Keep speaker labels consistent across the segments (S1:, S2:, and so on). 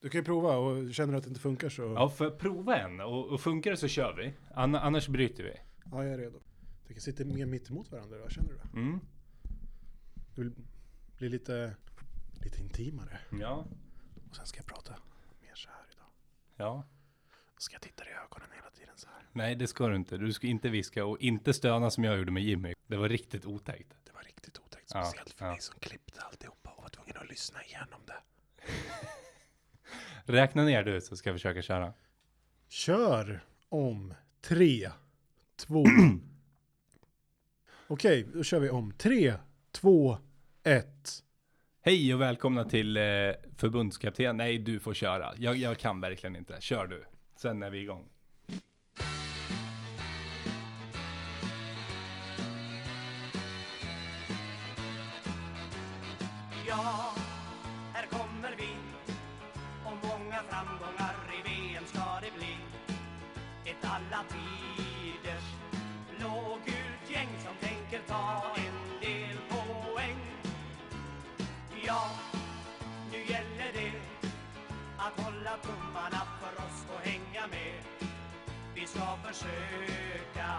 S1: Du kan ju prova och känner du att det inte funkar så...
S2: Ja, för prova en och, och funkar det så kör vi. Ann- annars bryter vi.
S1: Ja, jag är redo. Du kan sitta mer mitt emot varandra då, känner du det?
S2: Mm.
S1: Det vill bli lite, lite intimare.
S2: Ja.
S1: Och sen ska jag prata mer så här idag.
S2: Ja.
S1: Och ska jag titta dig i ögonen hela tiden så här.
S2: Nej, det ska du inte. Du ska inte viska och inte stöna som jag gjorde med Jimmy. Det var riktigt otäckt.
S1: Det var riktigt otäckt.
S2: Ja,
S1: Speciellt för
S2: ja.
S1: mig som klippte alltihopa och var tvungen att lyssna igenom det.
S2: Räkna ner du så ska jag försöka köra.
S1: Kör om tre, två. Okej, då kör vi om tre, två, ett.
S2: Hej och välkomna till eh, förbundskapten. Nej, du får köra. Jag, jag kan verkligen inte. Kör du. Sen är vi igång.
S3: Ja, här kommer vi Och många framgångar i VM ska det bli Ett alla tiders blågult gäng som tänker ta en del poäng Ja, nu gäller det att hålla tummarna för oss och hänga med Vi ska försöka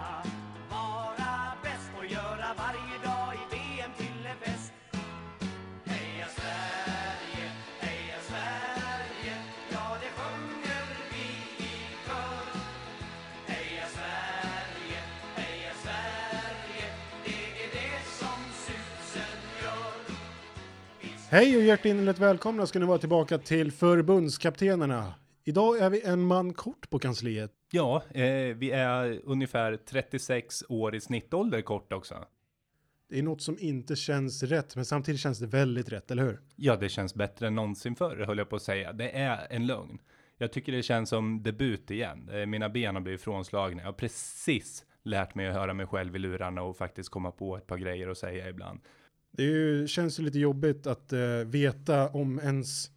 S3: vara bäst och göra varje dag i VM till en fest Heja Sverige, heja Sverige, ja det sjunger vi i kör. Heja Sverige, heja Sverige, det är det som susen gör.
S1: Hej och hjärtinnerligt välkomna ska ni vara tillbaka till förbundskaptenerna. Idag är vi en man kort på kansliet.
S2: Ja, eh, vi är ungefär 36 år i snittålder kort också.
S1: Det är något som inte känns rätt, men samtidigt känns det väldigt rätt, eller hur?
S2: Ja, det känns bättre än någonsin förr, höll jag på att säga. Det är en lögn. Jag tycker det känns som debut igen. Eh, Mina ben har blivit frånslagna. Jag har precis lärt mig att höra mig själv i lurarna och faktiskt komma på ett par grejer att säga ibland.
S1: Det är ju, känns ju lite jobbigt att eh, veta om ens,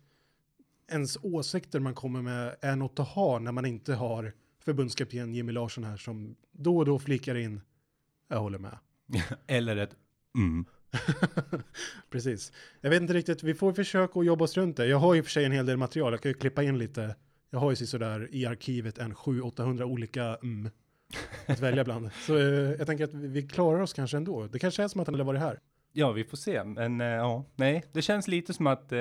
S1: ens åsikter man kommer med är något att ha när man inte har förbundskapten Jimmy Larsson här som då och då flikar in. Jag håller med.
S2: Eller ett mm.
S1: Precis. Jag vet inte riktigt, vi får försöka att jobba oss runt det. Jag har ju i och för sig en hel del material, jag kan ju klippa in lite. Jag har ju sådär i arkivet en 700-800 olika mm att välja bland. Så eh, jag tänker att vi- vi klarar oss kanske ändå. Det kanske är som att han hade varit här.
S2: Ja, vi får se. Men eh, ja, nej, det känns lite som att eh,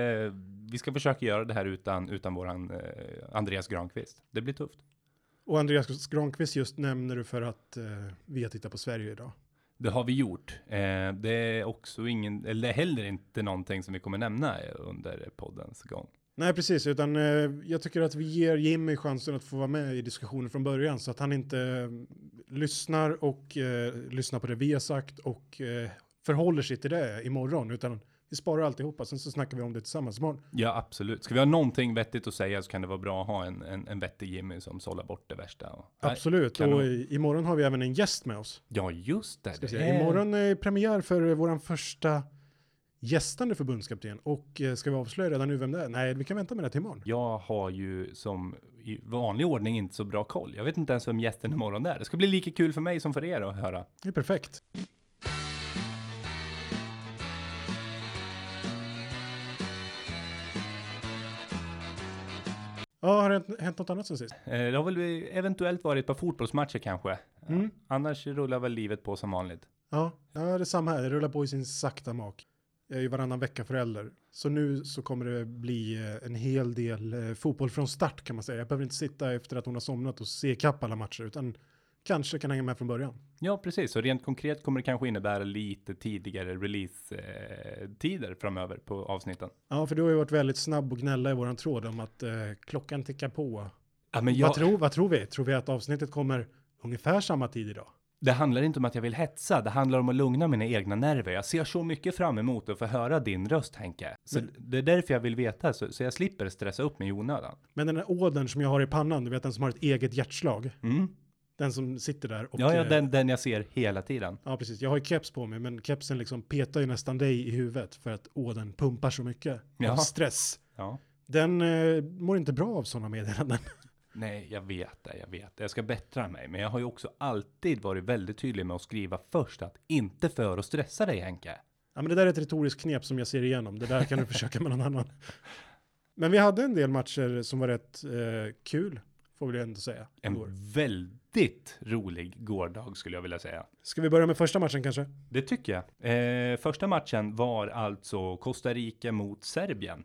S2: vi ska försöka göra det här utan, utan våran eh, Andreas Granqvist. Det blir tufft.
S1: Och Andreas Granqvist just nämner du för att eh, vi har tittat på Sverige idag.
S2: Det har vi gjort. Eh, det är också ingen, eller heller inte någonting som vi kommer nämna eh, under poddens gång.
S1: Nej, precis, utan eh, jag tycker att vi ger Jimmy chansen att få vara med i diskussionen från början så att han inte eh, lyssnar och eh, lyssnar på det vi har sagt och eh, förhåller sig till det imorgon, utan vi sparar alltihopa, sen så snackar vi om det tillsammans imorgon.
S2: Ja, absolut. Ska vi ha någonting vettigt att säga så kan det vara bra att ha en, en, en vettig Jimmy som sållar bort det värsta. Och,
S1: Absolut,
S2: kanon.
S1: och i, imorgon har vi även en gäst med oss.
S2: Ja, just det.
S1: Ska vi
S2: det
S1: se.
S2: är-
S1: Imorgon är premiär för eh, våran första gästande förbundskapten och eh, ska vi avslöja redan nu vem det är? Nej, vi kan vänta med det till imorgon.
S2: Jag har ju som i vanlig ordning inte så bra koll. Jag vet inte ens vem gästen imorgon är. Det ska bli lika kul för mig som för er att höra.
S1: Det är perfekt. Ja, har det hänt- hänt något annat sen sist?
S2: Eh, Det har väl eventuellt varit ett par fotbollsmatcher kanske.
S1: Mm.
S2: Annars rullar väl livet på som vanligt.
S1: Ja, ja det är samma här. Det rullar på i sin sakta mak. Jag är ju varannan vecka förälder. Så nu så kommer det bli eh, en hel del eh, fotboll från start kan man säga. Jag behöver inte sitta efter att hon har somnat och se kapp alla matcher utan kanske kan hänga med från början.
S2: Ja, precis. Så rent konkret kommer det kanske innebära lite tidigare release-tider framöver på avsnitten.
S1: Ja, för du har ju varit väldigt snabb och gnälla i våran tråd om att eh, klockan tickar på.
S2: Ja, men
S1: Vad, tror, vad tror vi? Tror vi att avsnittet kommer ungefär samma tid idag?
S2: Det handlar inte om att jag vill hetsa, det handlar om att lugna mina egna nerver. Jag ser så mycket fram emot att få höra din röst Henke. Så det är därför jag vill veta, så, så jag slipper stressa upp mig i onödan.
S1: Men den här ådern som jag har i pannan, du vet den som har ett eget hjärtslag.
S2: Mm.
S1: Den som sitter där och...
S2: Ja, ja,
S1: eh,
S2: den, den jag ser hela tiden.
S1: ja, precis. Jag har ju keps på mig, men kepsen liksom petar ju nästan dig i huvudet för att ådern pumpar så mycket av
S2: Jaha.
S1: stress.
S2: Ja.
S1: Den eh, mår inte bra av sådana meddelanden.
S2: Nej, jag vet det, jag vet det. Jag ska bättra mig, men jag har ju också alltid varit väldigt tydlig med att skriva först att inte för att stressa dig Henke.
S1: Ja, men det där är ett retoriskt knep som jag ser igenom. Det där kan du försöka med någon annan. Men vi hade en del matcher som var rätt eh, kul, får vi ändå säga. igår.
S2: En väldigt rolig gårdag skulle jag vilja säga.
S1: Ska vi börja med första matchen kanske?
S2: Det tycker jag. Eh, första matchen var alltså Costa Rica mot Serbien.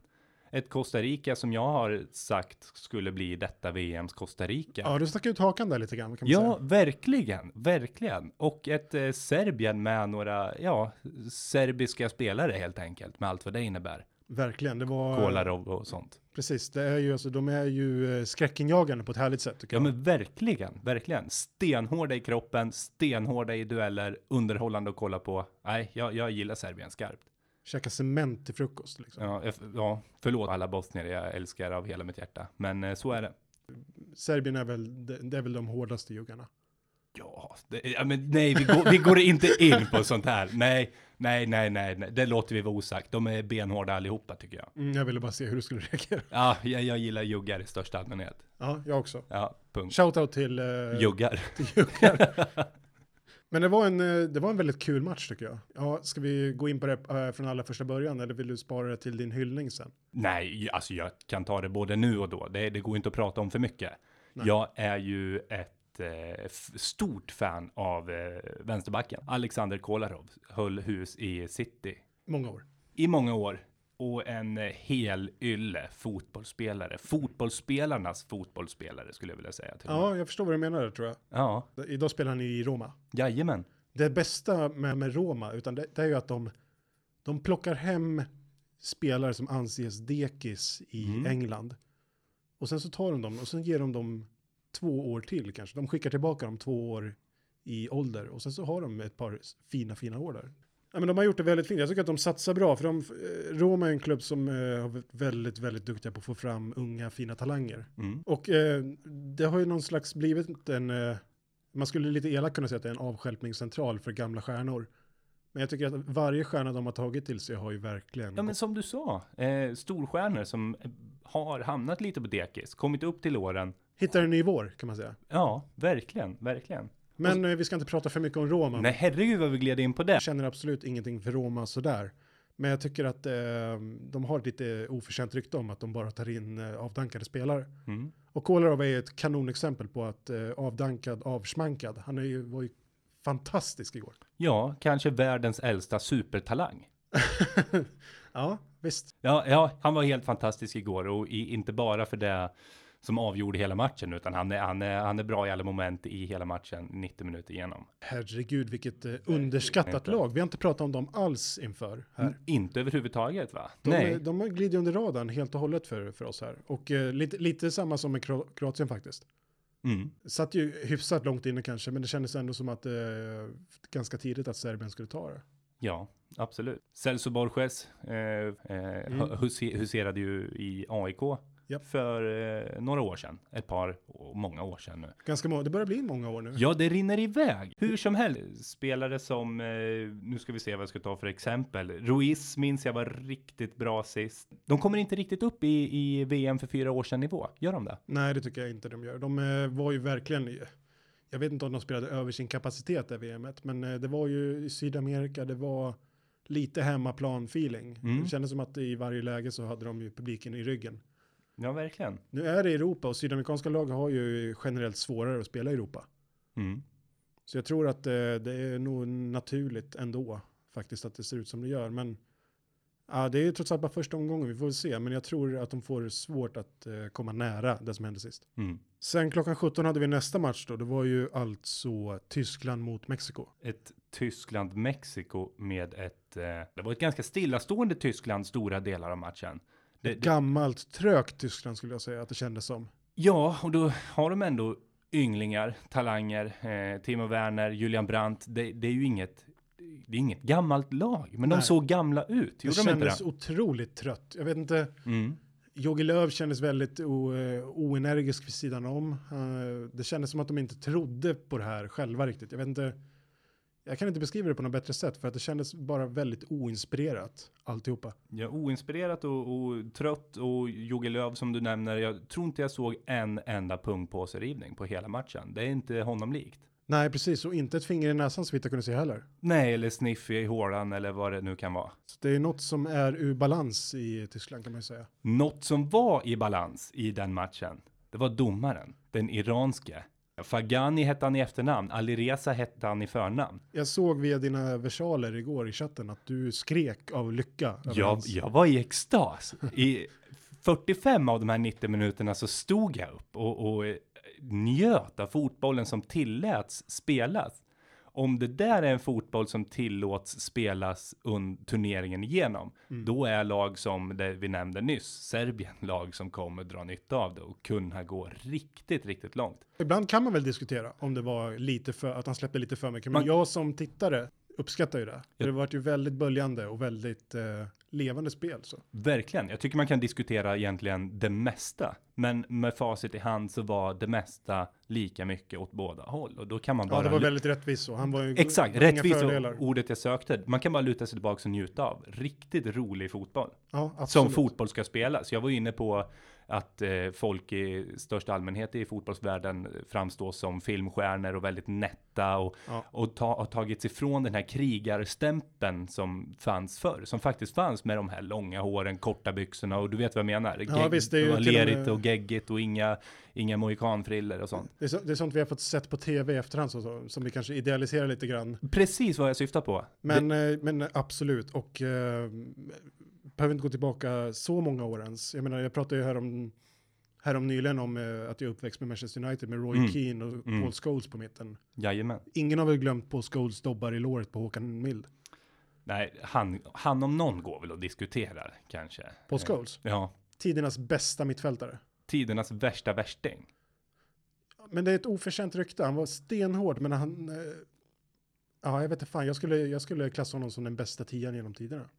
S2: Ett Costa Rica som jag har sagt skulle bli detta VMs Costa Rica.
S1: Ja, du stack ut hakan där lite grann kan man
S2: Ja,
S1: säga.
S2: verkligen, verkligen. Och ett eh, Serbien med några, ja, serbiska spelare helt enkelt, med allt vad det innebär.
S1: Verkligen, det var...
S2: Kolarov och sånt.
S1: Precis, det är ju, alltså, de är ju eh, skräckinjagande på ett härligt sätt tycker
S2: Ja,
S1: jag.
S2: men verkligen, verkligen. Stenhårda i kroppen, stenhårda i dueller, underhållande att kolla på. Nej, jag, jag gillar Serbien skarpt.
S1: Käka cement till frukost liksom.
S2: Ja, jag, ja, förlåt alla bosnier jag älskar av hela mitt hjärta, men eh, så är det.
S1: Serbien är väl, det, det är väl de hårdaste juggarna.
S2: Ja, det, ja men nej, vi går, vi går inte in på sånt här. Nej, nej, nej, nej, nej, det låter vi vara osagt. De är benhårda allihopa tycker jag.
S1: Mm, jag ville bara se hur du skulle reagera.
S2: Ja, jag, jag gillar juggar i största allmänhet.
S1: Ja, jag också.
S2: Ja, punkt.
S1: Shoutout till... eh,
S2: Juggar.
S1: Men det var, en, eh, det var en väldigt kul match tycker jag. Ja, ska vi gå in på det eh, från allra första början eller vill du spara det till din hyllning sen?
S2: Nej, alltså jag kan ta det både nu och då. Det, det går inte att prata om för mycket. Jag är ju ett eh, f- stort fan av eh, vänsterbacken. Alexander Kolarov höll hus i City
S1: Många år.
S2: i många år och en eh, hel ylle fotbollsspelare. Fotbollsspelarnas fotbollsspelare skulle jag vilja säga. Till ja.
S1: Ja, jag förstår vad du menar där, tror jag.
S2: ja,
S1: Idag spelar han i Roma.
S2: jajamän.
S1: Det bästa med, med Roma, utan det, det är ju att de, de plockar hem spelare som anses dekis i England. Och sen så tar de dem och sen ger de dem två år till kanske. De skickar tillbaka dem två år i ålder och sen så har de ett par s- fina, fina år där. Ja, men de har gjort det väldigt fint. Jag tycker att de satsar bra, för de, eh, Roma är en klubb som eh, har varit väldigt, väldigt duktiga på att få fram unga, fina talanger.
S2: Mm.
S1: Och eh, det har ju någon slags blivit en, eh, man skulle lite elakt kunna säga att det är en avstjälpningscentral för gamla stjärnor. Men jag tycker att varje stjärna de har tagit till sig har ju verkligen...
S2: Ja, men som du sa, eh, storstjärnor som har hamnat lite på dekis, kommit upp till åren.
S1: Hittar en ny vår kan man säga.
S2: Ja, verkligen, verkligen.
S1: Men eh, vi ska inte prata för mycket om Roma.
S2: Alltså- Nej, herregud vad vi gled in på det.
S1: Jag känner absolut ingenting för Roma sådär. Men jag tycker att eh, de har lite oförtjänt rykte om att de bara tar in eh, avdankade spelare.
S2: Mm.
S1: Och Kolarov är ett kanonexempel på att eh, avdankad, avsmankad. Han är ju, var ju fantastisk igår.
S2: Ja, kanske världens äldsta supertalang.
S1: ja, visst.
S2: Ja, ja, han var helt fantastisk igår och i, inte bara för det som avgjorde hela matchen, utan han är, han, är, han är bra i alla moment i hela matchen, 90 minuter igenom.
S1: Herregud, vilket eh, underskattat
S2: inte.
S1: lag. Vi har inte pratat om dem alls inför här.
S2: Inte överhuvudtaget, va?
S1: De, eh,
S2: Nej.
S1: de glider under radarn helt och hållet för, för oss här. Och eh, lite, lite samma som med Kro- Kroatien faktiskt.
S2: Mm.
S1: Satt ju hyfsat långt inne kanske, men det kändes ändå som att eh, ganska tidigt att Serbien skulle ta det.
S2: Ja, absolut. Celso Borges eh, eh, huse, huserade ju i AIK
S1: Japp.
S2: för eh, några år sedan, ett par, och många år sedan nu.
S1: Ganska må- det börjar bli många år nu.
S2: Ja, det rinner iväg. Hur som helst, spelare som, eh, nu ska vi se vad jag ska ta för exempel. Ruiz minns jag var riktigt bra sist. De kommer inte riktigt upp i, i VM för fyra år sedan nivå, gör de det?
S1: Nej, det tycker jag inte de gör. De eh, var ju verkligen, jag vet inte om de spelade över sin kapacitet i VMet, men eh, det var ju i Sydamerika, det var lite hemmaplan-feeling.
S2: Mm.
S1: Det kändes som att i varje läge så hade de ju publiken i ryggen.
S2: Ja, verkligen.
S1: Nu är det Europa och sydamerikanska lag har ju generellt svårare att spela i Europa.
S2: Mm.
S1: Så jag tror att eh, det är nog naturligt ändå faktiskt att det ser ut som det gör. Men ja, det är trots allt bara första omgången, vi får väl se. Men jag tror att de får svårt att eh, komma nära det som hände sist.
S2: Mm.
S1: Sen klockan 17 hade vi nästa match då. Det var ju alltså Tyskland mot Mexiko.
S2: Ett Tyskland-Mexiko med ett, eh, det var ett ganska stillastående Tyskland stora delar av matchen. Det, det,
S1: Gammalt trögt Tyskland skulle jag säga att det kändes som.
S2: Ja, och då har de ändå ynglingar, talanger, eh, Timo Werner, Julian Brandt. Det, det är ju inget, det är inget gammalt lag, men de
S1: Nej.
S2: såg gamla ut.
S1: Det
S2: Gjorde de inte
S1: kändes
S2: det?
S1: otroligt trött. Jag vet inte,
S2: Mm.
S1: Jogi Löw kändes väldigt o, eh, oenergisk vid sidan om. Eh, Det kändes som att de inte trodde på det här själva riktigt. Jag vet inte, jag kan inte beskriva det på något bättre sätt för att det kändes bara väldigt oinspirerat alltihopa.
S2: Ja, oinspirerat och, och trött och Jogi Löw som du nämner. Jag tror inte jag såg en enda pungpåserivning på hela matchen. Det är inte honom likt.
S1: Nej, precis. Och inte ett finger i näsan så vitt jag kunde se heller.
S2: Nej, eller sniff i hålan eller vad det nu kan vara.
S1: Så det är något som är ur balans i Tyskland kan man ju säga.
S2: Något som var i balans i den matchen, det var domaren, den iranske. Fagani hette han i efternamn, Alireza hette han i förnamn.
S1: Jag såg via dina versaler igår i chatten att du skrek av lycka. över
S2: Jag,
S1: hans-
S2: jag var i extas. I 45 av de här 90 minuterna så stod jag upp och, och eh, njöt av fotbollen som tilläts spelas. Om det där är en fotboll som tillåts spelas un- turneringen igenom, då är lag som det vi nämnde nyss, Serbien, lag som kommer dra nytta av det och kunna gå riktigt, riktigt långt.
S1: Ibland kan man väl diskutera om det var lite för, att han släppte lite för mycket. Men
S2: Man-
S1: jag som tittare uppskattar ju det. För det vart ju väldigt böljande och väldigt eh, levande spel. Så.
S2: Verkligen. Jag tycker man kan diskutera egentligen det mesta, men med facit i hand så var det mesta lika mycket åt båda håll och då kan man bara.
S1: Ja, det var väldigt rättvist så. Han var ju
S2: Exakt,
S1: inga
S2: rättvis
S1: fördelar.
S2: och ordet jag sökte. Man kan bara luta sig tillbaka och njuta av riktigt rolig fotboll
S1: Ja,
S2: som
S1: absolut.
S2: fotboll ska spelas. Jag var ju inne på att eh, folk i största allmänhet i fotbollsvärlden framstår som filmstjärnor och väldigt nätta och,
S1: Ja.
S2: och ta, har tagits ifrån den här krigarstämpeln som fanns förr, som faktiskt fanns med de här långa håren, korta byxorna och du vet vad jag menar.
S1: Ja, visst, det är ju
S2: var
S1: till och med-
S2: lerigt och geggigt och inga, inga mohikanfriller och sånt.
S1: Det är, så, det är sånt vi har fått sett på tv i efterhand så, så, som vi kanske idealiserar lite grann.
S2: Precis vad jag syftar på.
S1: Men, eh, men absolut, och eh, behöver inte gå tillbaka så många år ens. Jag menar, jag pratade ju här om, här om nyligen om eh, att jag är uppväxt med Manchester United med Roy
S2: Mm.
S1: Keane och
S2: Mm.
S1: Paul Scholes på mitten.
S2: Jajamän.
S1: Ingen har väl glömt Paul Scholes dobbar i låret på Håkan Mild?
S2: Nej, han, han om någon går väl och diskuterar kanske. Eh,
S1: Paul Scholes,
S2: Ja,
S1: tidernas bästa mittfältare.
S2: tidernas värsta värsting.
S1: Men det är ett oförtjänt rykte, han var stenhård, men han... Eh, ja, jag vet inte fan, jag skulle, jag skulle klassa honom som den bästa tian genom tiderna.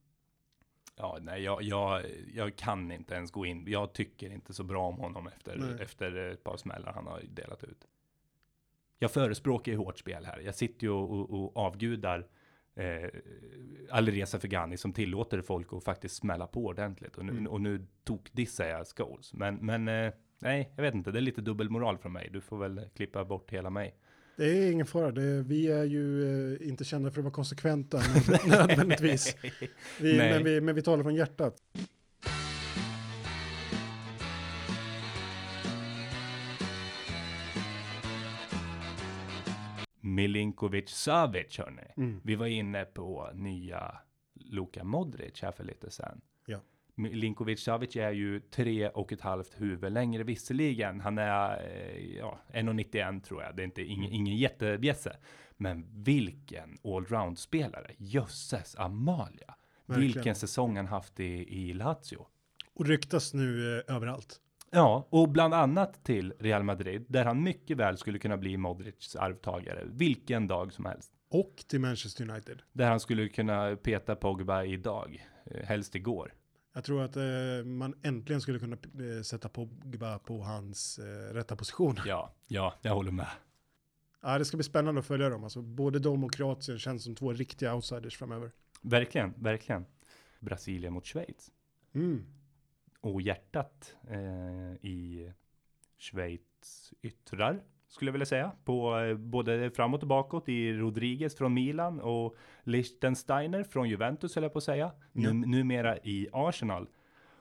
S2: Ja, nej, jag, jag, jag kan inte ens gå in. Jag tycker inte så bra om honom efter,
S1: Nej.
S2: efter ett par smällar han har delat ut. Jag förespråkar ju hårt spel här. Jag sitter ju och, och, och avgudar eh, Alireza Fegani som tillåter folk att faktiskt smälla på ordentligt. Och nu, och nu tokdissar jag Scholes. Men, men eh, nej, jag vet inte. Det är lite dubbelmoral från mig. Du får väl klippa bort hela mig.
S1: Det är ingen fara, det, vi är ju eh, inte kända för att vara konsekventa men, nödvändigtvis. Vi,
S2: Nej.
S1: men, vi, men vi talar från hjärtat.
S2: Milinkovic Savic hörni. Vi var inne på nya Luka Modric här för lite sen.
S1: Ja.
S2: Milinkovic Savic är ju tre och ett halvt huvud längre visserligen. Han är eh, ja, 1,91 tror jag. Det är inte ingen, ingen jättebjässe. Men vilken allround-spelare. Jösses Amalia.
S1: Verkligen.
S2: Vilken säsong han haft i, i Lazio.
S1: Och ryktas nu eh, överallt.
S2: Ja, och bland annat till Real Madrid, där han mycket väl skulle kunna bli Modrics arvtagare vilken dag som helst.
S1: Och till Manchester United.
S2: Där han skulle kunna peta Pogba idag, eh, helst igår.
S1: Jag tror att eh, man äntligen skulle kunna eh, sätta Pogba på hans eh, rätta position.
S2: Ja, ja, jag håller med.
S1: Ja, det ska bli spännande att följa dem. Alltså, både de och Kroatien känns som två riktiga outsiders framöver.
S2: Verkligen, verkligen. Brasilien mot Schweiz.
S1: Mm.
S2: Och hjärtat eh, i Schweiz yttrar, skulle jag vilja säga. På eh, både framåt och bakåt i Rodriguez från Milan och Liechtensteiner från Juventus, höll jag på att säga.
S1: Ja.
S2: Num- numera i Arsenal.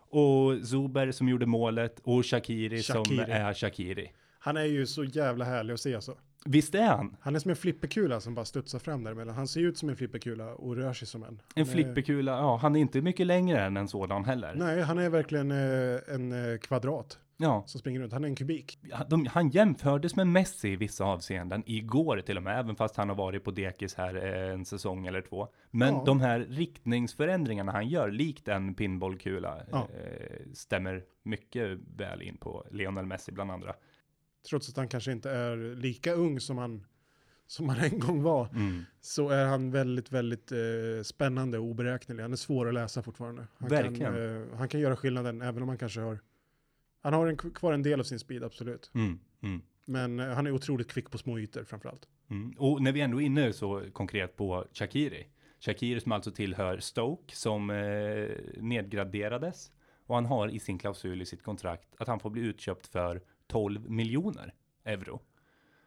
S2: Och Zuber som gjorde målet och Shakiri, som
S1: Shaqiri.
S2: är Shakiri.
S1: Han är ju så jävla härlig att se alltså.
S2: Visst är han?
S1: Han är som en flipperkula som bara studsar fram däremellan. Han ser ut som en flipperkula och rör sig som en.
S2: En
S1: Han är-
S2: flipperkula, ja, han är inte mycket längre än en sådan heller.
S1: Nej, han är verkligen eh, en eh, kvadrat
S2: Ja,
S1: som springer runt. Han är en kubik.
S2: han- de, han jämfördes med Messi i vissa avseenden igår till och med, även fast han har varit på dekis här eh, en säsong eller två. Men
S1: Ja.
S2: de här riktningsförändringarna han gör, likt en pinbollkula,
S1: Ja.
S2: eh, stämmer mycket väl in på Lionel Messi bland andra.
S1: Trots att han kanske inte är lika ung som han, som han en gång var, så är han väldigt, väldigt eh, spännande och oberäknelig. Han är svår att läsa fortfarande. Han Kan,
S2: Verkligen.
S1: eh, han kan göra skillnaden, även om han kanske har... Han har en, kvar en del av sin speed, absolut.
S2: Mm, mm.
S1: Men eh, han är otroligt kvick på små ytor, framförallt.
S2: Mm. Och när vi ändå är inne så konkret på Shakiri. Shakiri som alltså tillhör Stoke som eh, nedgraderades. Och han har i sin klausul i sitt kontrakt att han får bli utköpt för 12 miljoner euro.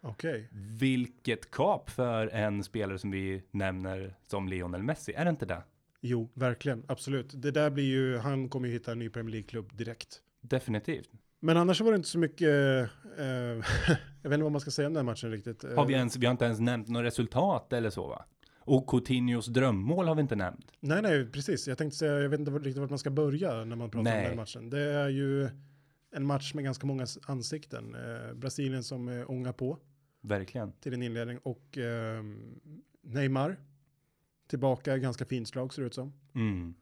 S1: Ja, Okej.
S2: Vilket kap för en spelare som vi nämner som Lionel Messi, är det inte det?
S1: Jo, verkligen. Absolut. Det där blir ju, han kommer ju hitta en ny Premier League-klubb direkt.
S2: Definitivt.
S1: Men annars var det inte så mycket, eh, eh, jag vet inte vad man ska säga om den här matchen riktigt. Eh,
S2: Har vi, ens, vi har inte ens nämnt något resultat eller så va? Och Coutinhos drömmål har vi inte nämnt.
S1: Nej, nej, precis. Jag tänkte säga, jag vet inte var- riktigt vart man ska börja när man pratar om
S2: Nej.
S1: den här matchen. Det är ju en match med ganska många s- ansikten. Eh, Brasilien som eh, ångar på
S2: Verkligen.
S1: till en inledning och eh, Neymar tillbaka, ganska fint slag ser det ut som.
S2: Mm.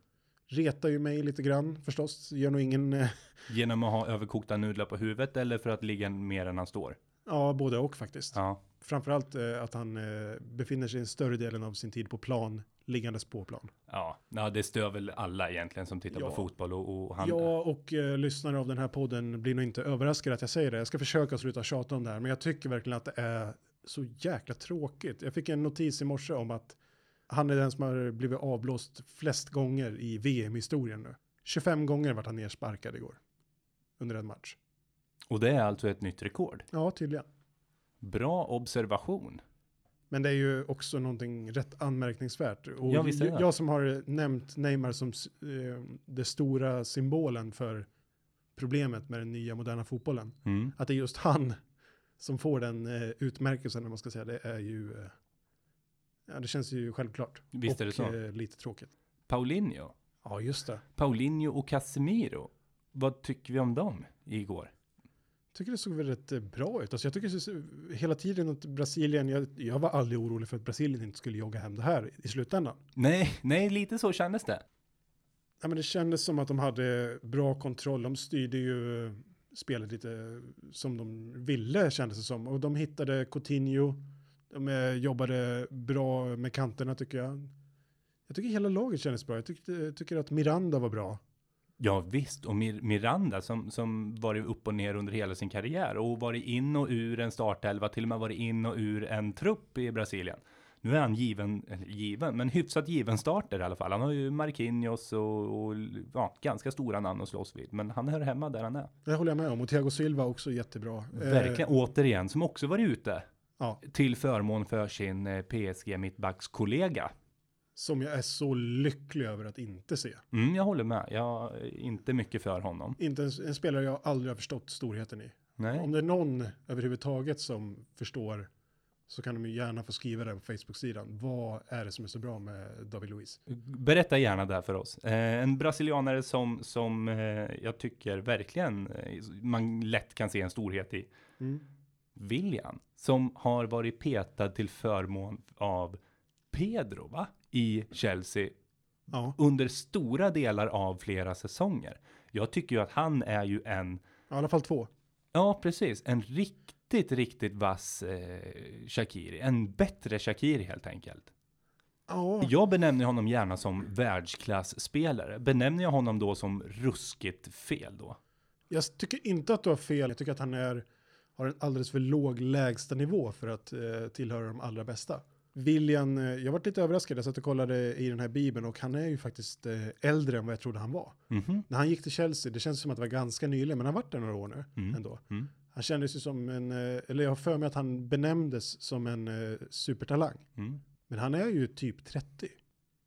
S1: Retar ju mig lite grann förstås, gör nog ingen, eh,
S2: Genom att ha överkokta nudlar på huvudet eller för att ligga mer än han står.
S1: ja både och faktiskt.
S2: Ja,
S1: Framförallt eh, att han eh, befinner sig en större delen av sin tid på plan, liggandes på plan.
S2: ja. ja det stör väl alla egentligen som tittar
S1: Ja.
S2: på fotboll och, och han.
S1: Ja, och eh, lyssnare av den här podden blir nog inte överraskade att jag säger det. Jag ska försöka sluta tjata om det här, men jag tycker verkligen att det är så jäkla tråkigt. Jag fick en notis i morse om att han är den som har blivit avblåst flest gånger i VM-historien nu. 25 gånger vart han nersparkad igår under en match.
S2: Och det är alltså ett nytt rekord.
S1: Ja, tydligen.
S2: Bra observation.
S1: Men det är ju också någonting rätt anmärkningsvärt. Och
S2: Ja, visst är det.
S1: jag, jag som har nämnt Neymar som s- eh, den stora symbolen för problemet med den nya moderna fotbollen.
S2: Mm.
S1: Att det är just han som får den eh, utmärkelsen, om man ska säga det, är ju... Eh, ja, det känns ju självklart.
S2: Visst
S1: och,
S2: är det så.
S1: Eh, lite tråkigt.
S2: Paulinho.
S1: Ja, just det.
S2: Paulinho och Casemiro. Vad tycker vi om dem igår?
S1: tycker det såg väl rätt eh, bra ut. Alltså jag tycker så- hela tiden att Brasilien, jag, jag var aldrig orolig för att Brasilien inte skulle jogga hem det här i slutändan.
S2: Nej, nej, lite så kändes det.
S1: Ja, men det kändes som att de hade bra kontroll. De styrde ju eh, spelet lite som de ville kändes det som. Och de hittade Coutinho. De eh, jobbade bra med kanterna tycker jag. Jag tycker hela laget kändes bra. Jag tyckte, tycker att Miranda var bra.
S2: Ja visst, och Mir- Miranda som, som varit upp och ner under hela sin karriär och varit in och ur en startelva, till och med varit in och ur en trupp i Brasilien. Nu är han given, eller given, men hyfsat given starter i alla fall. Han har ju Marquinhos och, och ja, ganska stora namn att slåss vid, men han hör hemma där han är.
S1: Det håller jag med om. Och Thiago Silva också jättebra. Eh,
S2: Verkligen, återigen, som också varit ute
S1: ja,
S2: till förmån för sin eh, PSG mittbackskollega.
S1: som jag är så lycklig över att inte se.
S2: Mm, jag håller med, jag är inte mycket för honom.
S1: Inte en, en spelare jag aldrig har förstått storheten i.
S2: Nej,
S1: Om det är någon överhuvudtaget som förstår så kan de ju gärna få skriva det på Facebook-sidan. Vad är det som är så bra med David Luiz?
S2: Berätta gärna där för oss. Eh, en brasilianare som, som eh, jag tycker verkligen eh, man lätt kan se en storhet i.
S1: Mm.
S2: William, som har varit petad till förmån av Pedro, va? I Chelsea
S1: Ja,
S2: under stora delar av flera säsonger. Jag tycker ju att han är ju en,
S1: i alla fall två.
S2: ja precis, en riktigt, riktigt vass eh, Shakiri. En bättre Shakiri helt enkelt.
S1: Ja,
S2: Jag benämner honom gärna som världsklasspelare. Benämner jag honom då som ruskigt fel då?
S1: jag tycker inte att du har fel. Jag tycker att han är, har en alldeles för låg lägsta nivå för att eh, tillhöra de allra bästa. William, eh, jag varit lite överraskad, jag satt och kollade i den här bibeln och han är ju faktiskt eh, äldre än vad jag trodde han var.
S2: Mhm.
S1: När han gick till Chelsea, det känns som att det var ganska nyligen, men han har varit där några år nu
S2: Mm.
S1: ändå.
S2: Mm.
S1: Han kändes ju som en, eh, eller jag har för mig att han benämndes som en eh, supertalang.
S2: Mm.
S1: Men han är ju typ 30.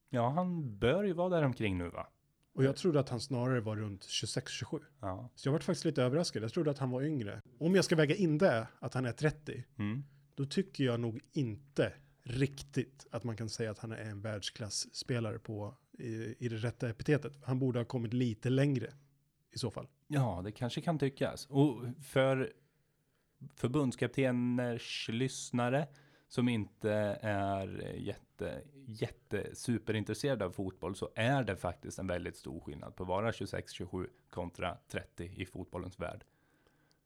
S2: Ja, han bör ju vara där omkring nu va?
S1: Och jag trodde att han snarare var runt 26-27.
S2: Ja.
S1: Så jag var faktiskt lite överraskad. Jag trodde att han var yngre. Om jag ska väga in det, att han är 30,
S2: Mm.
S1: då tycker jag nog inte riktigt att man kan säga att han är en världsklassspelare på, i, i det rätta epitetet. Han borde ha kommit lite längre i så fall.
S2: ja, det kanske kan tyckas. Och för förbundskapteners lyssnare som inte är jätte, jätte superintresserade av fotboll så är det faktiskt en väldigt stor skillnad på att vara 26-27 kontra 30 i fotbollens värld.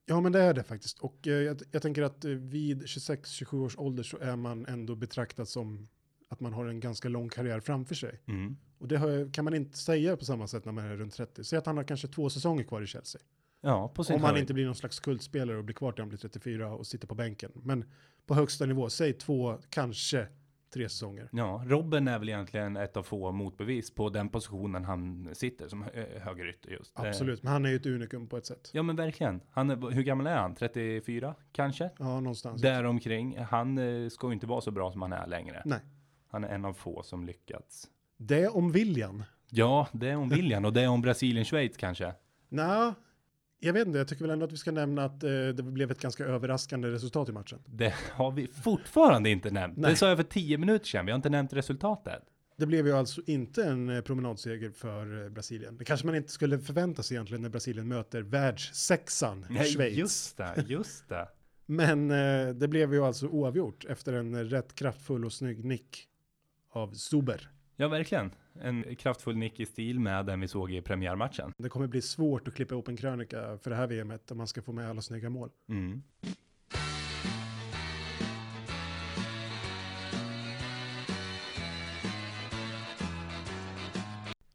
S1: Ja, men det är det faktiskt. Och eh, jag, jag tänker att eh, vid 26-27 års ålder så är man ändå betraktad som att man har en ganska lång karriär framför sig.
S2: Mm.
S1: Och det har, kan man inte säga på samma sätt när man är runt 30. Säg att han har kanske två säsonger kvar i Chelsea.
S2: Ja, på sin
S1: Om han
S2: höjd.
S1: inte blir någon slags kultspelare och blir kvar till han blir 34 och sitter på bänken. Men på högsta nivå, säg två, kanske tre säsonger.
S2: Ja, Robben är väl egentligen ett av få motbevis på den positionen han sitter som hö- högerytter just. Eh,
S1: Absolut, men han är ju ett unikum på ett sätt.
S2: Ja, men verkligen. Han är, hur gammal är han? 34 kanske?
S1: Ja, någonstans.
S2: Däromkring. Han eh, ska ju inte vara så bra som han är längre.
S1: Nej.
S2: Han är en av få som lyckats.
S1: Det om viljan.
S2: Ja, det är om William och det är om Brasilien-Schweiz kanske.
S1: Nja, jag vet inte, jag tycker väl ändå att vi ska nämna att eh, det blev ett ganska överraskande resultat i matchen.
S2: Det har vi fortfarande inte nämnt.
S1: Nej.
S2: Det sa jag för 10 minuter sedan. Vi har inte nämnt resultatet.
S1: Det blev ju alltså inte en eh, promenadseger för eh, Brasilien. Det kanske man inte skulle förvänta sig egentligen när Brasilien möter världssexan Schweiz.
S2: just det, just det.
S1: Men eh, det blev ju alltså oavgjort efter en eh, rätt kraftfull och snygg nick av Zuber.
S2: Ja, verkligen. En kraftfull nick i stil med den vi såg i premiärmatchen.
S1: Det kommer bli svårt att klippa ihop en krönika för det här VMet om man ska få med alla snygga mål.
S2: Mm.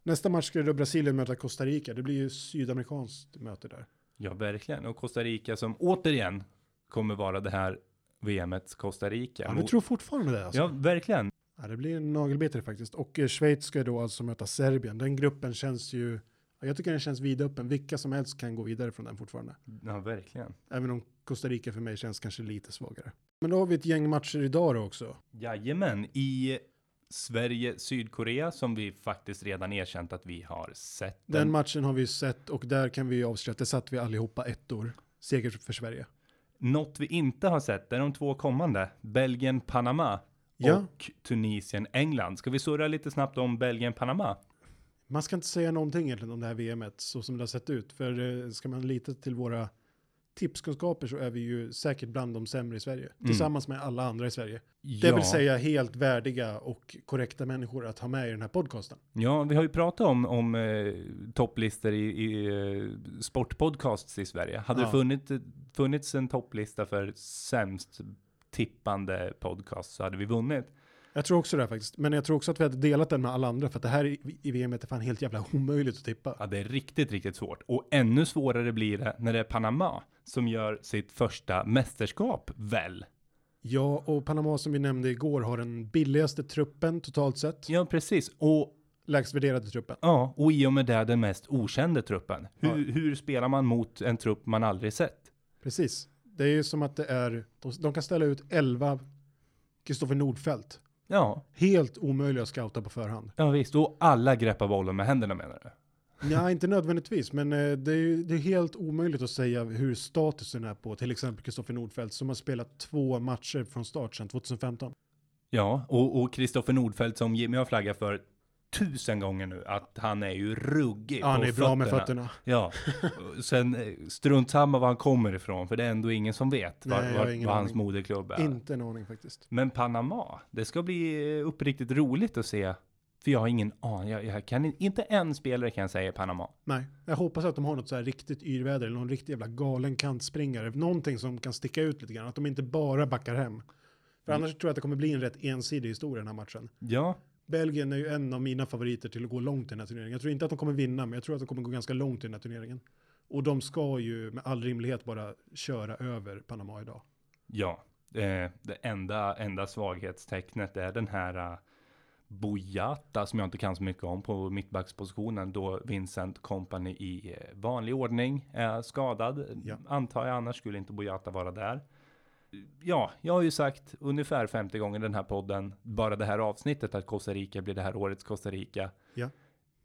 S1: Nästa match ska ju då Brasilien möta Costa Rica. Det blir ju sydamerikanskt möte där.
S2: Ja, verkligen. Och Costa Rica som återigen kommer vara det här VMets Costa Rica.
S1: Ja, du tror fortfarande det alltså?
S2: Ja, verkligen.
S1: Ja, det blir en nagelbitare faktiskt. Och eh, Schweiz ska då alltså möta Serbien. Den gruppen känns ju, ja, jag tycker den känns vidöppen. Vilka som helst kan gå vidare från den fortfarande.
S2: Ja, verkligen.
S1: Även om Costa Rica för mig känns kanske lite svagare. Men då har vi ett gäng matcher idag då också.
S2: Jajamän, i Sverige, Sydkorea som vi faktiskt redan erkänt att vi har sett.
S1: Den matchen har vi sett och där kan vi ju avslöja att det satt vi allihopa ettor. Seger för Sverige.
S2: Något vi inte har sett är de två kommande. Belgien, Panama
S1: Ja.
S2: och Tunisien, England. Ska vi surra lite snabbt om Belgien, Panama?
S1: Man ska inte säga någonting egentligen om det här VMet så som det har sett ut. För eh, ska man lita till våra tipskunskaper så är vi ju säkert bland de sämre i Sverige. Tillsammans med alla andra i Sverige. Det vill säga helt värdiga och korrekta människor att ha med i den här podcasten.
S2: Ja, vi har ju pratat om, om eh, topplistor i, i eh, sportpodcasts i Sverige. Hade
S1: Ja.
S2: det funnits, funnits en topplista för sämst tippande podcast så hade vi vunnit.
S1: Jag tror också det här faktiskt. Men jag tror också att vi hade delat den med alla andra för att det här i, i VMet är fan helt jävla omöjligt att tippa.
S2: Ja, det är riktigt, riktigt svårt. Och ännu svårare blir det när det är Panama som gör sitt första mästerskap, väl?
S1: Ja, och Panama som vi nämnde igår har den billigaste truppen totalt sett.
S2: Ja, precis. Och,
S1: Lägst värderade truppen.
S2: ja, och i och med det den mest okända truppen. Hur, hur spelar man mot en trupp man aldrig sett?
S1: Precis. Det är ju som att det är, de, de kan ställa ut 11 Kristoffer Nordfeldt.
S2: Ja,
S1: Helt omöjliga att scouta på förhand.
S2: ja visst. Och alla greppar bollen med händerna menar du?
S1: Ja, inte nödvändigtvis, men eh, det är, ju- det är helt omöjligt att säga hur statusen är på till exempel Kristoffer Nordfeldt som har spelat två matcher från start sedan 2015.
S2: Ja, och och Kristoffer Nordfeldt som Jimmy har flaggat för tusen gånger nu, att han är ju ruggig
S1: Ja, han
S2: på
S1: är bra med fötterna.
S2: Ja, Och sen eh, strunt samma var han kommer ifrån, för det är ändå ingen som vet var,
S1: Nej, jag har
S2: var,
S1: ingen
S2: var hans
S1: aning.
S2: moderklubb är.
S1: Inte en aning faktiskt.
S2: Men Panama, det ska bli eh, uppriktigt roligt att se. För jag har ingen aning, jag, jag kan in- inte en spelare kan jag säga i Panama.
S1: Nej, jag hoppas att de har något så här riktigt yrväder eller någon riktig jävla galen kantspringare. Någonting som kan sticka ut lite grann, att de inte bara backar hem. För
S2: Mm.
S1: annars tror jag att det kommer bli en rätt ensidig historia den här matchen.
S2: Ja,
S1: Belgien är ju en av mina favoriter till att gå långt i den här turneringen. Jag tror inte att de kommer vinna, men jag tror att de kommer gå ganska långt i den här turneringen. Och de ska ju med all rimlighet bara köra över Panama idag.
S2: ja. Eh, det enda, enda svaghetstecknet är den här eh, Boyata som jag inte kan så mycket om på mittbackspositionen då Vincent Kompany i eh, vanlig ordning är skadad.
S1: Ja.
S2: Antar jag annars skulle inte Boyata vara där. Ja, jag har ju sagt ungefär 50 gånger i den här podden, bara det här avsnittet att Costa Rica blir det här årets Costa Rica.
S1: Ja.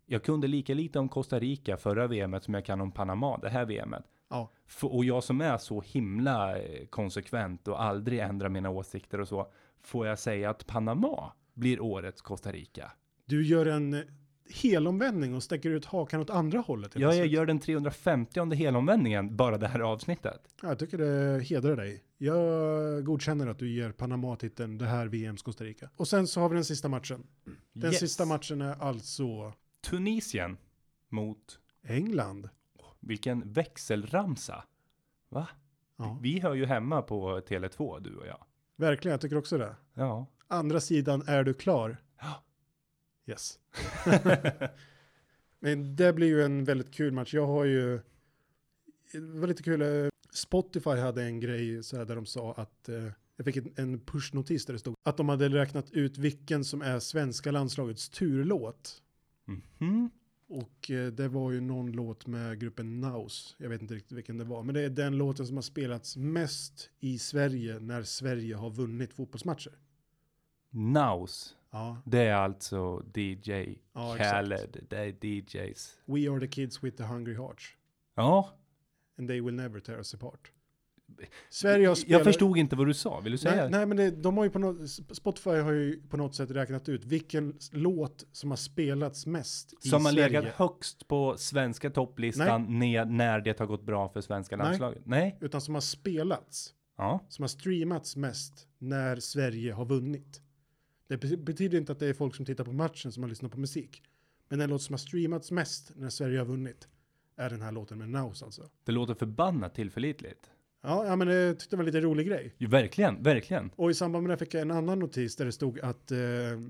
S2: Jag kunde lika lite om Costa Rica förra VMet som jag kan om Panama det här VMet.
S1: Ja,
S2: F- och jag som är så himla eh, konsekvent och aldrig ändrar mina åsikter och så, får jag säga att Panama blir årets Costa Rica?
S1: du gör en eh, helomvändning och stäcker ut hakan åt andra hållet. helt
S2: Ja, jag
S1: plötsligt.
S2: gör den 350 helomvändningen bara det här avsnittet.
S1: Ja, jag tycker det hedrar dig. Jag godkänner att du ger Panama titeln det här VMs Costa Rica. Och sen så har vi den sista matchen. Den
S2: Yes.
S1: sista matchen är alltså
S2: Tunisien mot
S1: England.
S2: vilken växelramsa? Va?
S1: Ja,
S2: Vi hör ju hemma på Tele2 du och jag.
S1: verkligen. Jag tycker också det.
S2: Ja,
S1: Andra sidan, är du klar?
S2: Ja.
S1: Yes. Men det blir ju en väldigt kul match. Jag har ju... Det var lite kul. eh, Spotify hade en grej så här där de sa att eh, Jag fick en- en pushnotis där det stod att de hade räknat ut vilken som är svenska landslagets turlåt.
S2: Mhm.
S1: Och eh, det var ju någon låt med gruppen Naus. Jag vet inte riktigt vilken det var. Men det är den låten som har spelats mest i Sverige när Sverige har vunnit fotbollsmatcher.
S2: Naus.
S1: Ja.
S2: Det är alltså DJ
S1: Ja, exakt.
S2: Khaled. Det är DJs.
S1: We are the kids with the hungry hearts.
S2: Ja,
S1: And they will never tear us apart. Sverige har spelat...
S2: jag förstod inte vad du sa. Vill du säga?
S1: Nej, nej men det, de har ju på något, Spotify har ju på något sätt räknat ut vilken låt som har spelats mest i
S2: Som har
S1: Sverige.
S2: legat högst på svenska topplistan när, när det har gått bra för svenska
S1: Nej.
S2: landslaget? Nej.
S1: Utan som har spelats.
S2: Ja.
S1: som har streamats mest när Sverige har vunnit. Det be- betyder inte att det är folk som tittar på matchen som har lyssnat på musik. Men den låt som har streamats mest när Sverige har vunnit är den här låten med Naus alltså.
S2: Det låter förbannat tillförlitligt.
S1: Ja, ja men det tyckte jag var en lite rolig grej.
S2: Ju, verkligen, verkligen.
S1: Och i samband med det fick jag en annan notis där det stod att eh,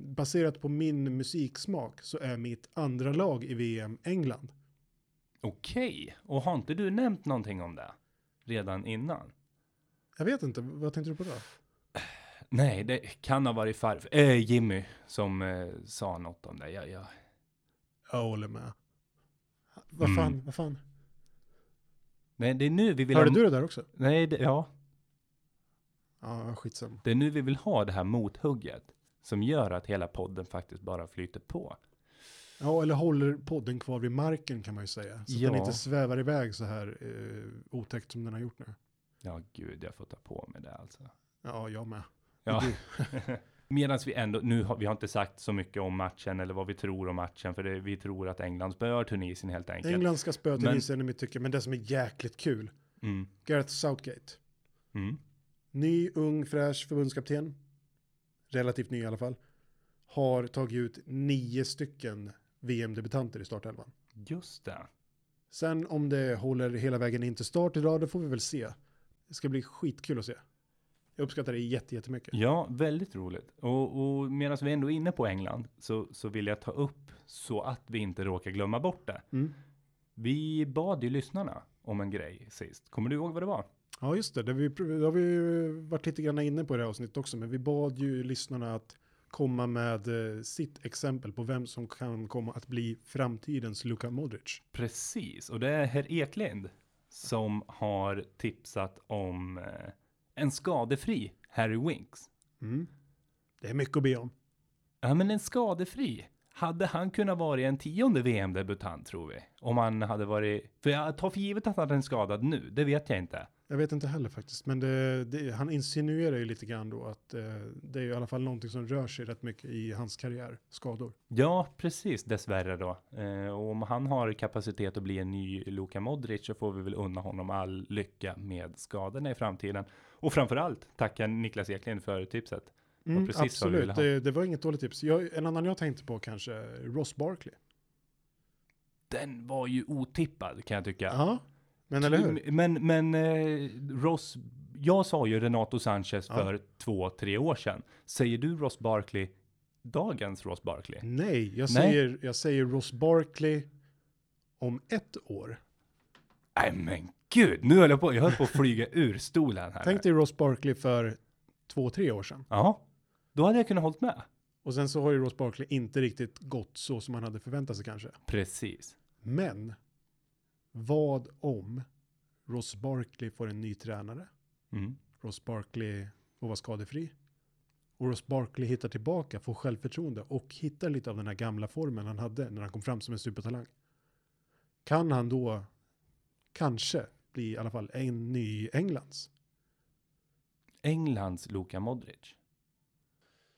S1: baserat på min musiksmak så är mitt andra lag i VM England.
S2: Okej, och har inte du nämnt någonting om det redan innan?
S1: Jag vet inte, vad tänkte du på då?
S2: Nej, det kan ha varit farf. Eh, Jimmy som eh, sa något om det. Jag, jag,
S1: Jag håller med. Mm. Vad fan, vad fan.
S2: nej, det är nu vi vill
S1: Hörde
S2: ha...
S1: du det där också?
S2: Nej, det, ja.
S1: Ja, skitsamma.
S2: Det är nu vi vill ha det här mothugget som gör att hela podden faktiskt bara flyter på.
S1: Ja, eller håller podden kvar vid marken kan man ju säga. Så
S2: Ja.
S1: att den inte svävar iväg så här eh, otäckt som den har gjort nu.
S2: Ja, gud, jag får ta på mig det alltså.
S1: Ja, jag med.
S2: Ja.
S1: Det-
S2: Medan vi ändå, nu har vi har inte sagt så mycket om matchen eller vad vi tror om matchen, för det, vi tror att England spöar Tunisien helt enkelt.
S1: England ska spöa
S2: Men-
S1: Tunisien i mitt tycke, men det som är jäkligt kul,
S2: Mm,
S1: Gareth Southgate.
S2: mm.
S1: Ny, ung, fräsch förbundskapten. Relativt ny i alla fall. Har tagit ut nio stycken VM-debutanter i startelvan.
S2: Just det.
S1: Sen om det håller hela vägen in till start idag, det får vi väl se. Det ska bli skitkul att se. Jag uppskattar det jätte- jättemycket.
S2: Ja, väldigt roligt. Och, och medan vi ändå är inne på England så, så vill jag ta upp så att vi inte råkar glömma bort det.
S1: Mm.
S2: Vi bad ju lyssnarna om en grej sist. Kommer du ihåg vad det var?
S1: Ja, just det. Det, vi, det har vi ju varit lite grann inne på i det här avsnittet också, men vi bad ju lyssnarna att komma med eh, sitt exempel på vem som kan komma att bli framtidens Luka Modric.
S2: Precis, och det är herr Eklind som har tipsat om eh, en skadefri Harry Winks.
S1: Mm. Det är mycket att be om.
S2: Ja, men en skadefri. Hade han kunnat vara en tionde VM-debutant tror vi? Om han hade varit... För jag tar för givet att han är skadad nu, det vet jag inte.
S1: Jag vet inte heller faktiskt, men det, det, han insinuerar ju lite grann då att eh, det är ju i alla fall någonting som rör sig rätt mycket i hans karriär, skador.
S2: Ja, precis, dessvärre då. Eh, och om han har kapacitet att bli en ny Luka Modric så får vi väl unna honom all lycka med skadorna i framtiden. Och framför allt tacka Niklas Eklind för tipset. var
S1: Mm,
S2: precis vad vi ville
S1: absolut, det,
S2: ha.
S1: det var inget dåligt tips. Jag, en annan jag tänkte på kanske, Ross Barkley.
S2: Den var ju otippad kan jag tycka.
S1: Ja, men eller hur?
S2: Men, men eh, Ross, jag sa ju Renato Sanchez
S1: Ja.
S2: för två, tre år sedan. Säger du Ross Barkley, dagens Ross Barkley?
S1: Nej, jag,
S2: Nej.
S1: Säger, jag säger Ross Barkley om ett år.
S2: Nej men gud, nu höll jag på, jag höll på att flyga ur stolen här.
S1: Tänk dig Ross Barkley för två, tre år sedan.
S2: Ja, då hade jag kunnat hållit med.
S1: Och sen så har ju Ross Barkley inte riktigt gått så som man hade förväntat sig kanske.
S2: Precis.
S1: Men vad om Ross Barkley får en ny tränare?
S2: Mm.
S1: Ross Barkley får vara skadefri. Och Ross Barkley hittar tillbaka, får självförtroende och hittar lite av den här gamla formen han hade när han kom fram som en supertalang. Kan han då kanske bli i alla fall en ny Englands?
S2: Englands Luka Modric.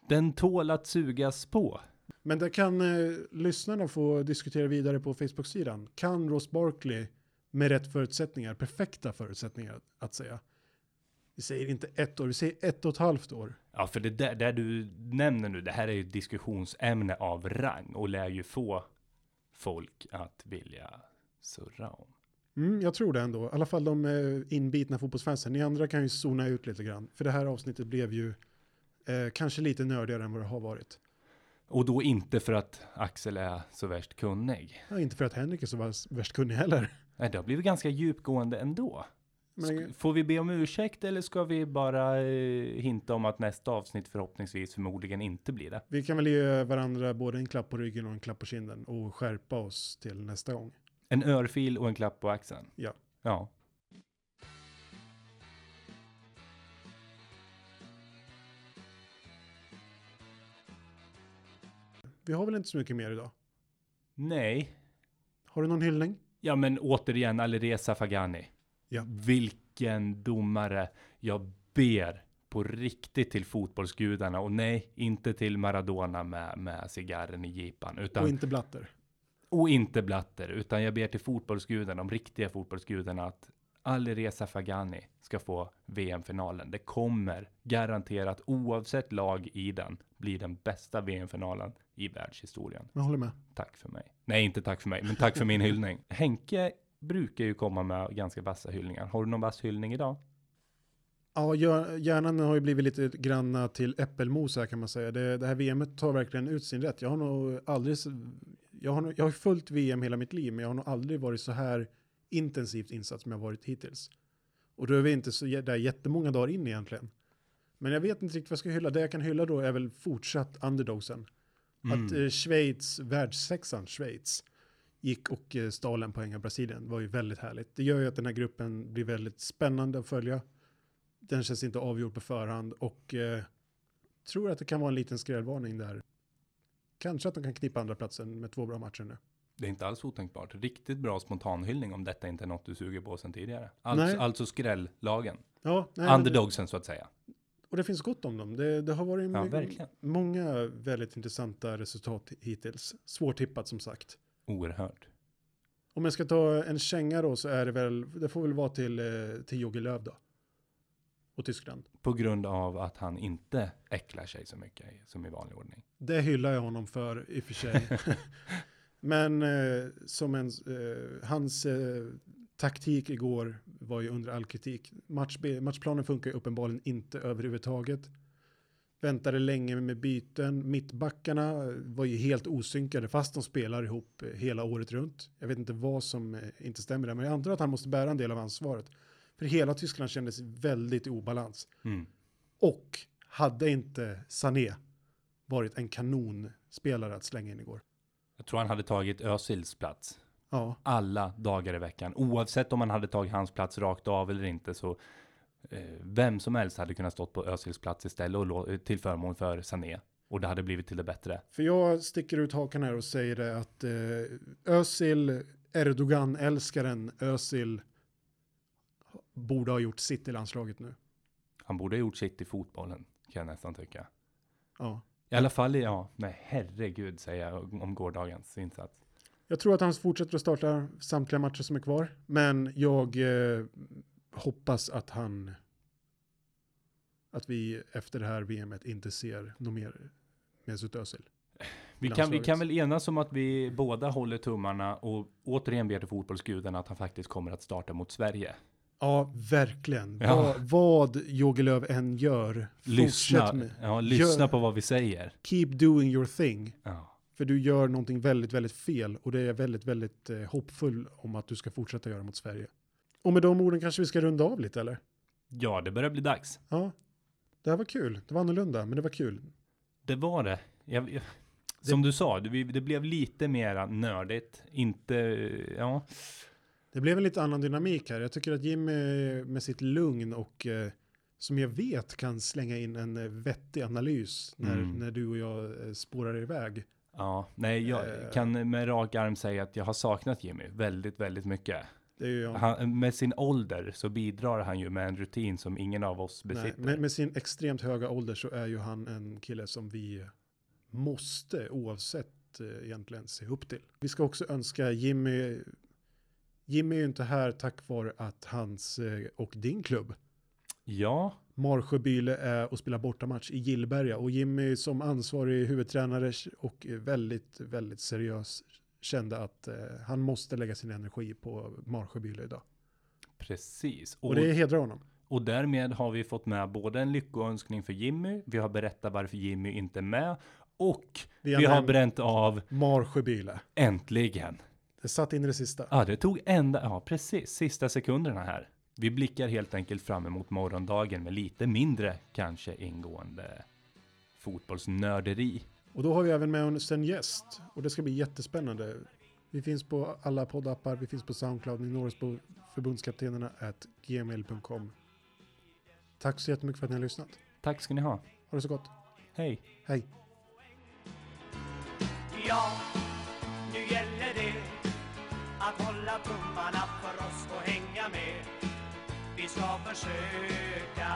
S2: Den tål att sugas på.
S1: Men där kan eh, lyssnarna få diskutera vidare på Facebook-sidan. Kan Ross Barkley med rätt förutsättningar, perfekta förutsättningar att säga. Vi säger inte ett år, vi säger ett och ett halvt år.
S2: Ja, för det där, där du nämner nu, det här är ju ett diskussionsämne av rang och lär ju få folk att vilja surra om.
S1: Mm, jag tror det ändå. I alla fall de eh, inbitna fotbollsfansen. Ni andra kan ju zona ut lite grann. För det här avsnittet blev ju eh, kanske lite nördigare än vad det har varit.
S2: Och då inte för att Axel är så värst kunnig.
S1: Ja, inte för att Henrik är så värst- värst kunnig heller.
S2: Nej, det har blivit ganska djupgående ändå.
S1: Men,
S2: Sk- Får vi be om ursäkt eller ska vi bara eh, hinta om att nästa avsnitt förhoppningsvis förmodligen inte blir det?
S1: vi kan väl ge varandra både en klapp på ryggen och en klapp på kinden och skärpa oss till nästa gång.
S2: En örfil och en klapp på axeln.
S1: Ja.
S2: Ja.
S1: Vi har väl inte så mycket mer idag?
S2: Nej.
S1: Har du någon hyllning?
S2: Ja, men återigen Alireza Fagani.
S1: Ja.
S2: Vilken domare. Jag ber på riktigt till fotbollsgudarna och nej, inte till Maradona med, med cigarren i jeepan. Utan,
S1: Och inte blatter.
S2: och inte Blatter, utan jag ber till fotbollsgudarna, de riktiga fotbollsgudarna, att Alireza Fagani ska få VM-finalen. Det kommer garanterat, oavsett lag i den, bli den bästa VM-finalen i världshistorien.
S1: Jag håller med.
S2: Tack för mig. Nej, inte tack för mig, men tack för min hyllning. Henke brukar ju komma med ganska vassa hyllningar. Har du någon vass hyllning idag?
S1: Ja, gör- hjärnan har ju blivit lite granna till äppelmos här kan man säga. Det, det här VMet tar verkligen ut sin rätt. Jag har nog aldrig, s- jag har, nog- jag har följt VM hela mitt liv, men jag har nog aldrig varit så här intensivt insatt som jag varit hittills. Och då är vi inte så jä- där jättemånga dagar in egentligen. Men jag vet inte riktigt vad jag ska hylla. Det jag kan hylla då är väl fortsatt underdogsen. Att eh, Schweiz, världssexan Schweiz, gick och eh, stal en poäng av Brasilien var ju väldigt härligt. Det gör ju att den här gruppen blir väldigt spännande att följa. Den känns inte avgjord på förhand och eh, tror att det kan vara en liten skrällvarning där. Kanske att de kan knipa andra platsen med två bra matcher nu.
S2: Det är inte alls otänkbart. Riktigt bra spontanhyllning om detta inte är något du suger på sen tidigare. Alltså,
S1: Nej.
S2: alltså skräll-lagen.
S1: Ja, nej, men det,
S2: Underdogsen så att säga.
S1: och det finns gott om dem. Det, det har varit
S2: Ja,
S1: my-
S2: verkligen.
S1: många väldigt intressanta resultat hittills. Svårtippat som sagt.
S2: Oerhört.
S1: Om jag ska ta en känga då så är det väl, det får väl vara till, eh, till Jogi Löw då. Och Tyskland.
S2: På grund av att han inte äcklar sig så mycket i- som i vanlig ordning.
S1: Det hyllar jag honom för i och för sig. Men eh, som en, eh, hans eh, taktik igår var ju under all kritik. Match, matchplanen funkar ju uppenbarligen inte överhuvudtaget. Väntade länge med byten. Mittbackarna var ju helt osynkade fast de spelar ihop eh, hela året runt. Jag vet inte vad som eh, inte stämmer där, men jag antar att han måste bära en del av ansvaret. För hela Tyskland kändes väldigt i obalans.
S2: Mm.
S1: Och hade inte Sané varit en kanonspelare att slänga in igår?
S2: Jag tror han hade tagit Özils plats
S1: Ja,
S2: alla dagar i veckan. Oavsett om man hade tagit hans plats rakt av eller inte så eh, vem som helst hade kunnat stått på Özils plats istället och lå- till förmån för Sané. Och det hade blivit till det bättre.
S1: för jag sticker ut hakan här och säger det att eh, Özil, Erdogan-älskaren Özil borde ha gjort sitt i landslaget nu.
S2: Han borde ha gjort sitt i fotbollen, kan jag nästan tycka.
S1: Ja.
S2: I alla fall, i- ja, nej herregud säger jag om gårdagens insats.
S1: Jag tror att han fortsätter att starta samtliga matcher som är kvar, men jag eh, hoppas att han att vi efter det här VMet inte ser något mer Mesut Özil.
S2: Vi kan, vi
S1: landslaget.
S2: kan väl enas om att vi båda håller tummarna och återigen ber till fotbollsgudarna att han faktiskt kommer att starta mot Sverige.
S1: Ja, verkligen.
S2: Ja.
S1: Vad, vad Jogi Löw än gör,
S2: Lyssna,
S1: fortsätt med.
S2: ja, lyssna
S1: Gör-
S2: på vad vi säger.
S1: Keep doing your thing.
S2: Ja.
S1: För du gör någonting väldigt, väldigt fel och det är jag väldigt, väldigt eh, hoppfull om att du ska fortsätta göra mot Sverige. Och med de orden kanske vi ska runda av lite eller?
S2: ja, det börjar bli dags.
S1: Ja, det här var kul. Det var annorlunda, men det var kul.
S2: Det var det. Jag, jag, som du sa, det, vi- det blev lite mera nördigt. Inte, eh, ja.
S1: Det blev en lite annan dynamik här. Jag tycker att Jim eh, med sitt lugn och eh, som jag vet kan slänga in en eh, vettig analys när,
S2: Mm.
S1: när du och jag eh, spårar iväg.
S2: Ja, nej, jag
S1: Eh.
S2: kan med rak arm säga att jag har saknat Jimmy väldigt, väldigt mycket.
S1: Det är ju jag.
S2: Han, med sin ålder så bidrar han ju med en rutin som ingen av oss
S1: Nej,
S2: besitter.
S1: med, med sin extremt höga ålder så är ju han en kille som vi måste oavsett eh, egentligen se upp till. Vi ska också önska Jimmy, Jimmy är ju inte här tack vare att hans eh, och din klubb
S2: Ja,
S1: Marsjöbyle är och spelar bortamatch i Gillberga och Jimmy som ansvarig huvudtränare och eh, väldigt, väldigt seriös kände att eh, han måste lägga sin energi på Marsjöbyle idag.
S2: precis.
S1: Och det hedrar honom.
S2: Och därmed har vi fått med både en lyckoönskning för Jimmy, vi har berättat varför Jimmy inte är med och
S1: Vi
S2: vi,
S1: har
S2: har
S1: nämnt-
S2: bränt av
S1: Marsjöbyle,
S2: äntligen.
S1: det satt in i det sista.
S2: Ja, det tog ända, ja precis, sista sekunderna här. Vi blickar helt enkelt fram emot morgondagen med lite mindre kanske ingående fotbollsnörderi.
S1: Och då har vi även med oss en gäst och det ska bli jättespännande. Vi finns på alla poddappar, vi finns på Soundcloud, ni når oss på förbundskaptenerna at gmail.com. Tack så jättemycket för att ni har lyssnat.
S2: Tack ska ni ha.
S1: Ha det så gott.
S2: Hej!
S1: Hej.
S3: Ja, nu gäller det att hålla tummarna för oss och hänga med. Vi ska försöka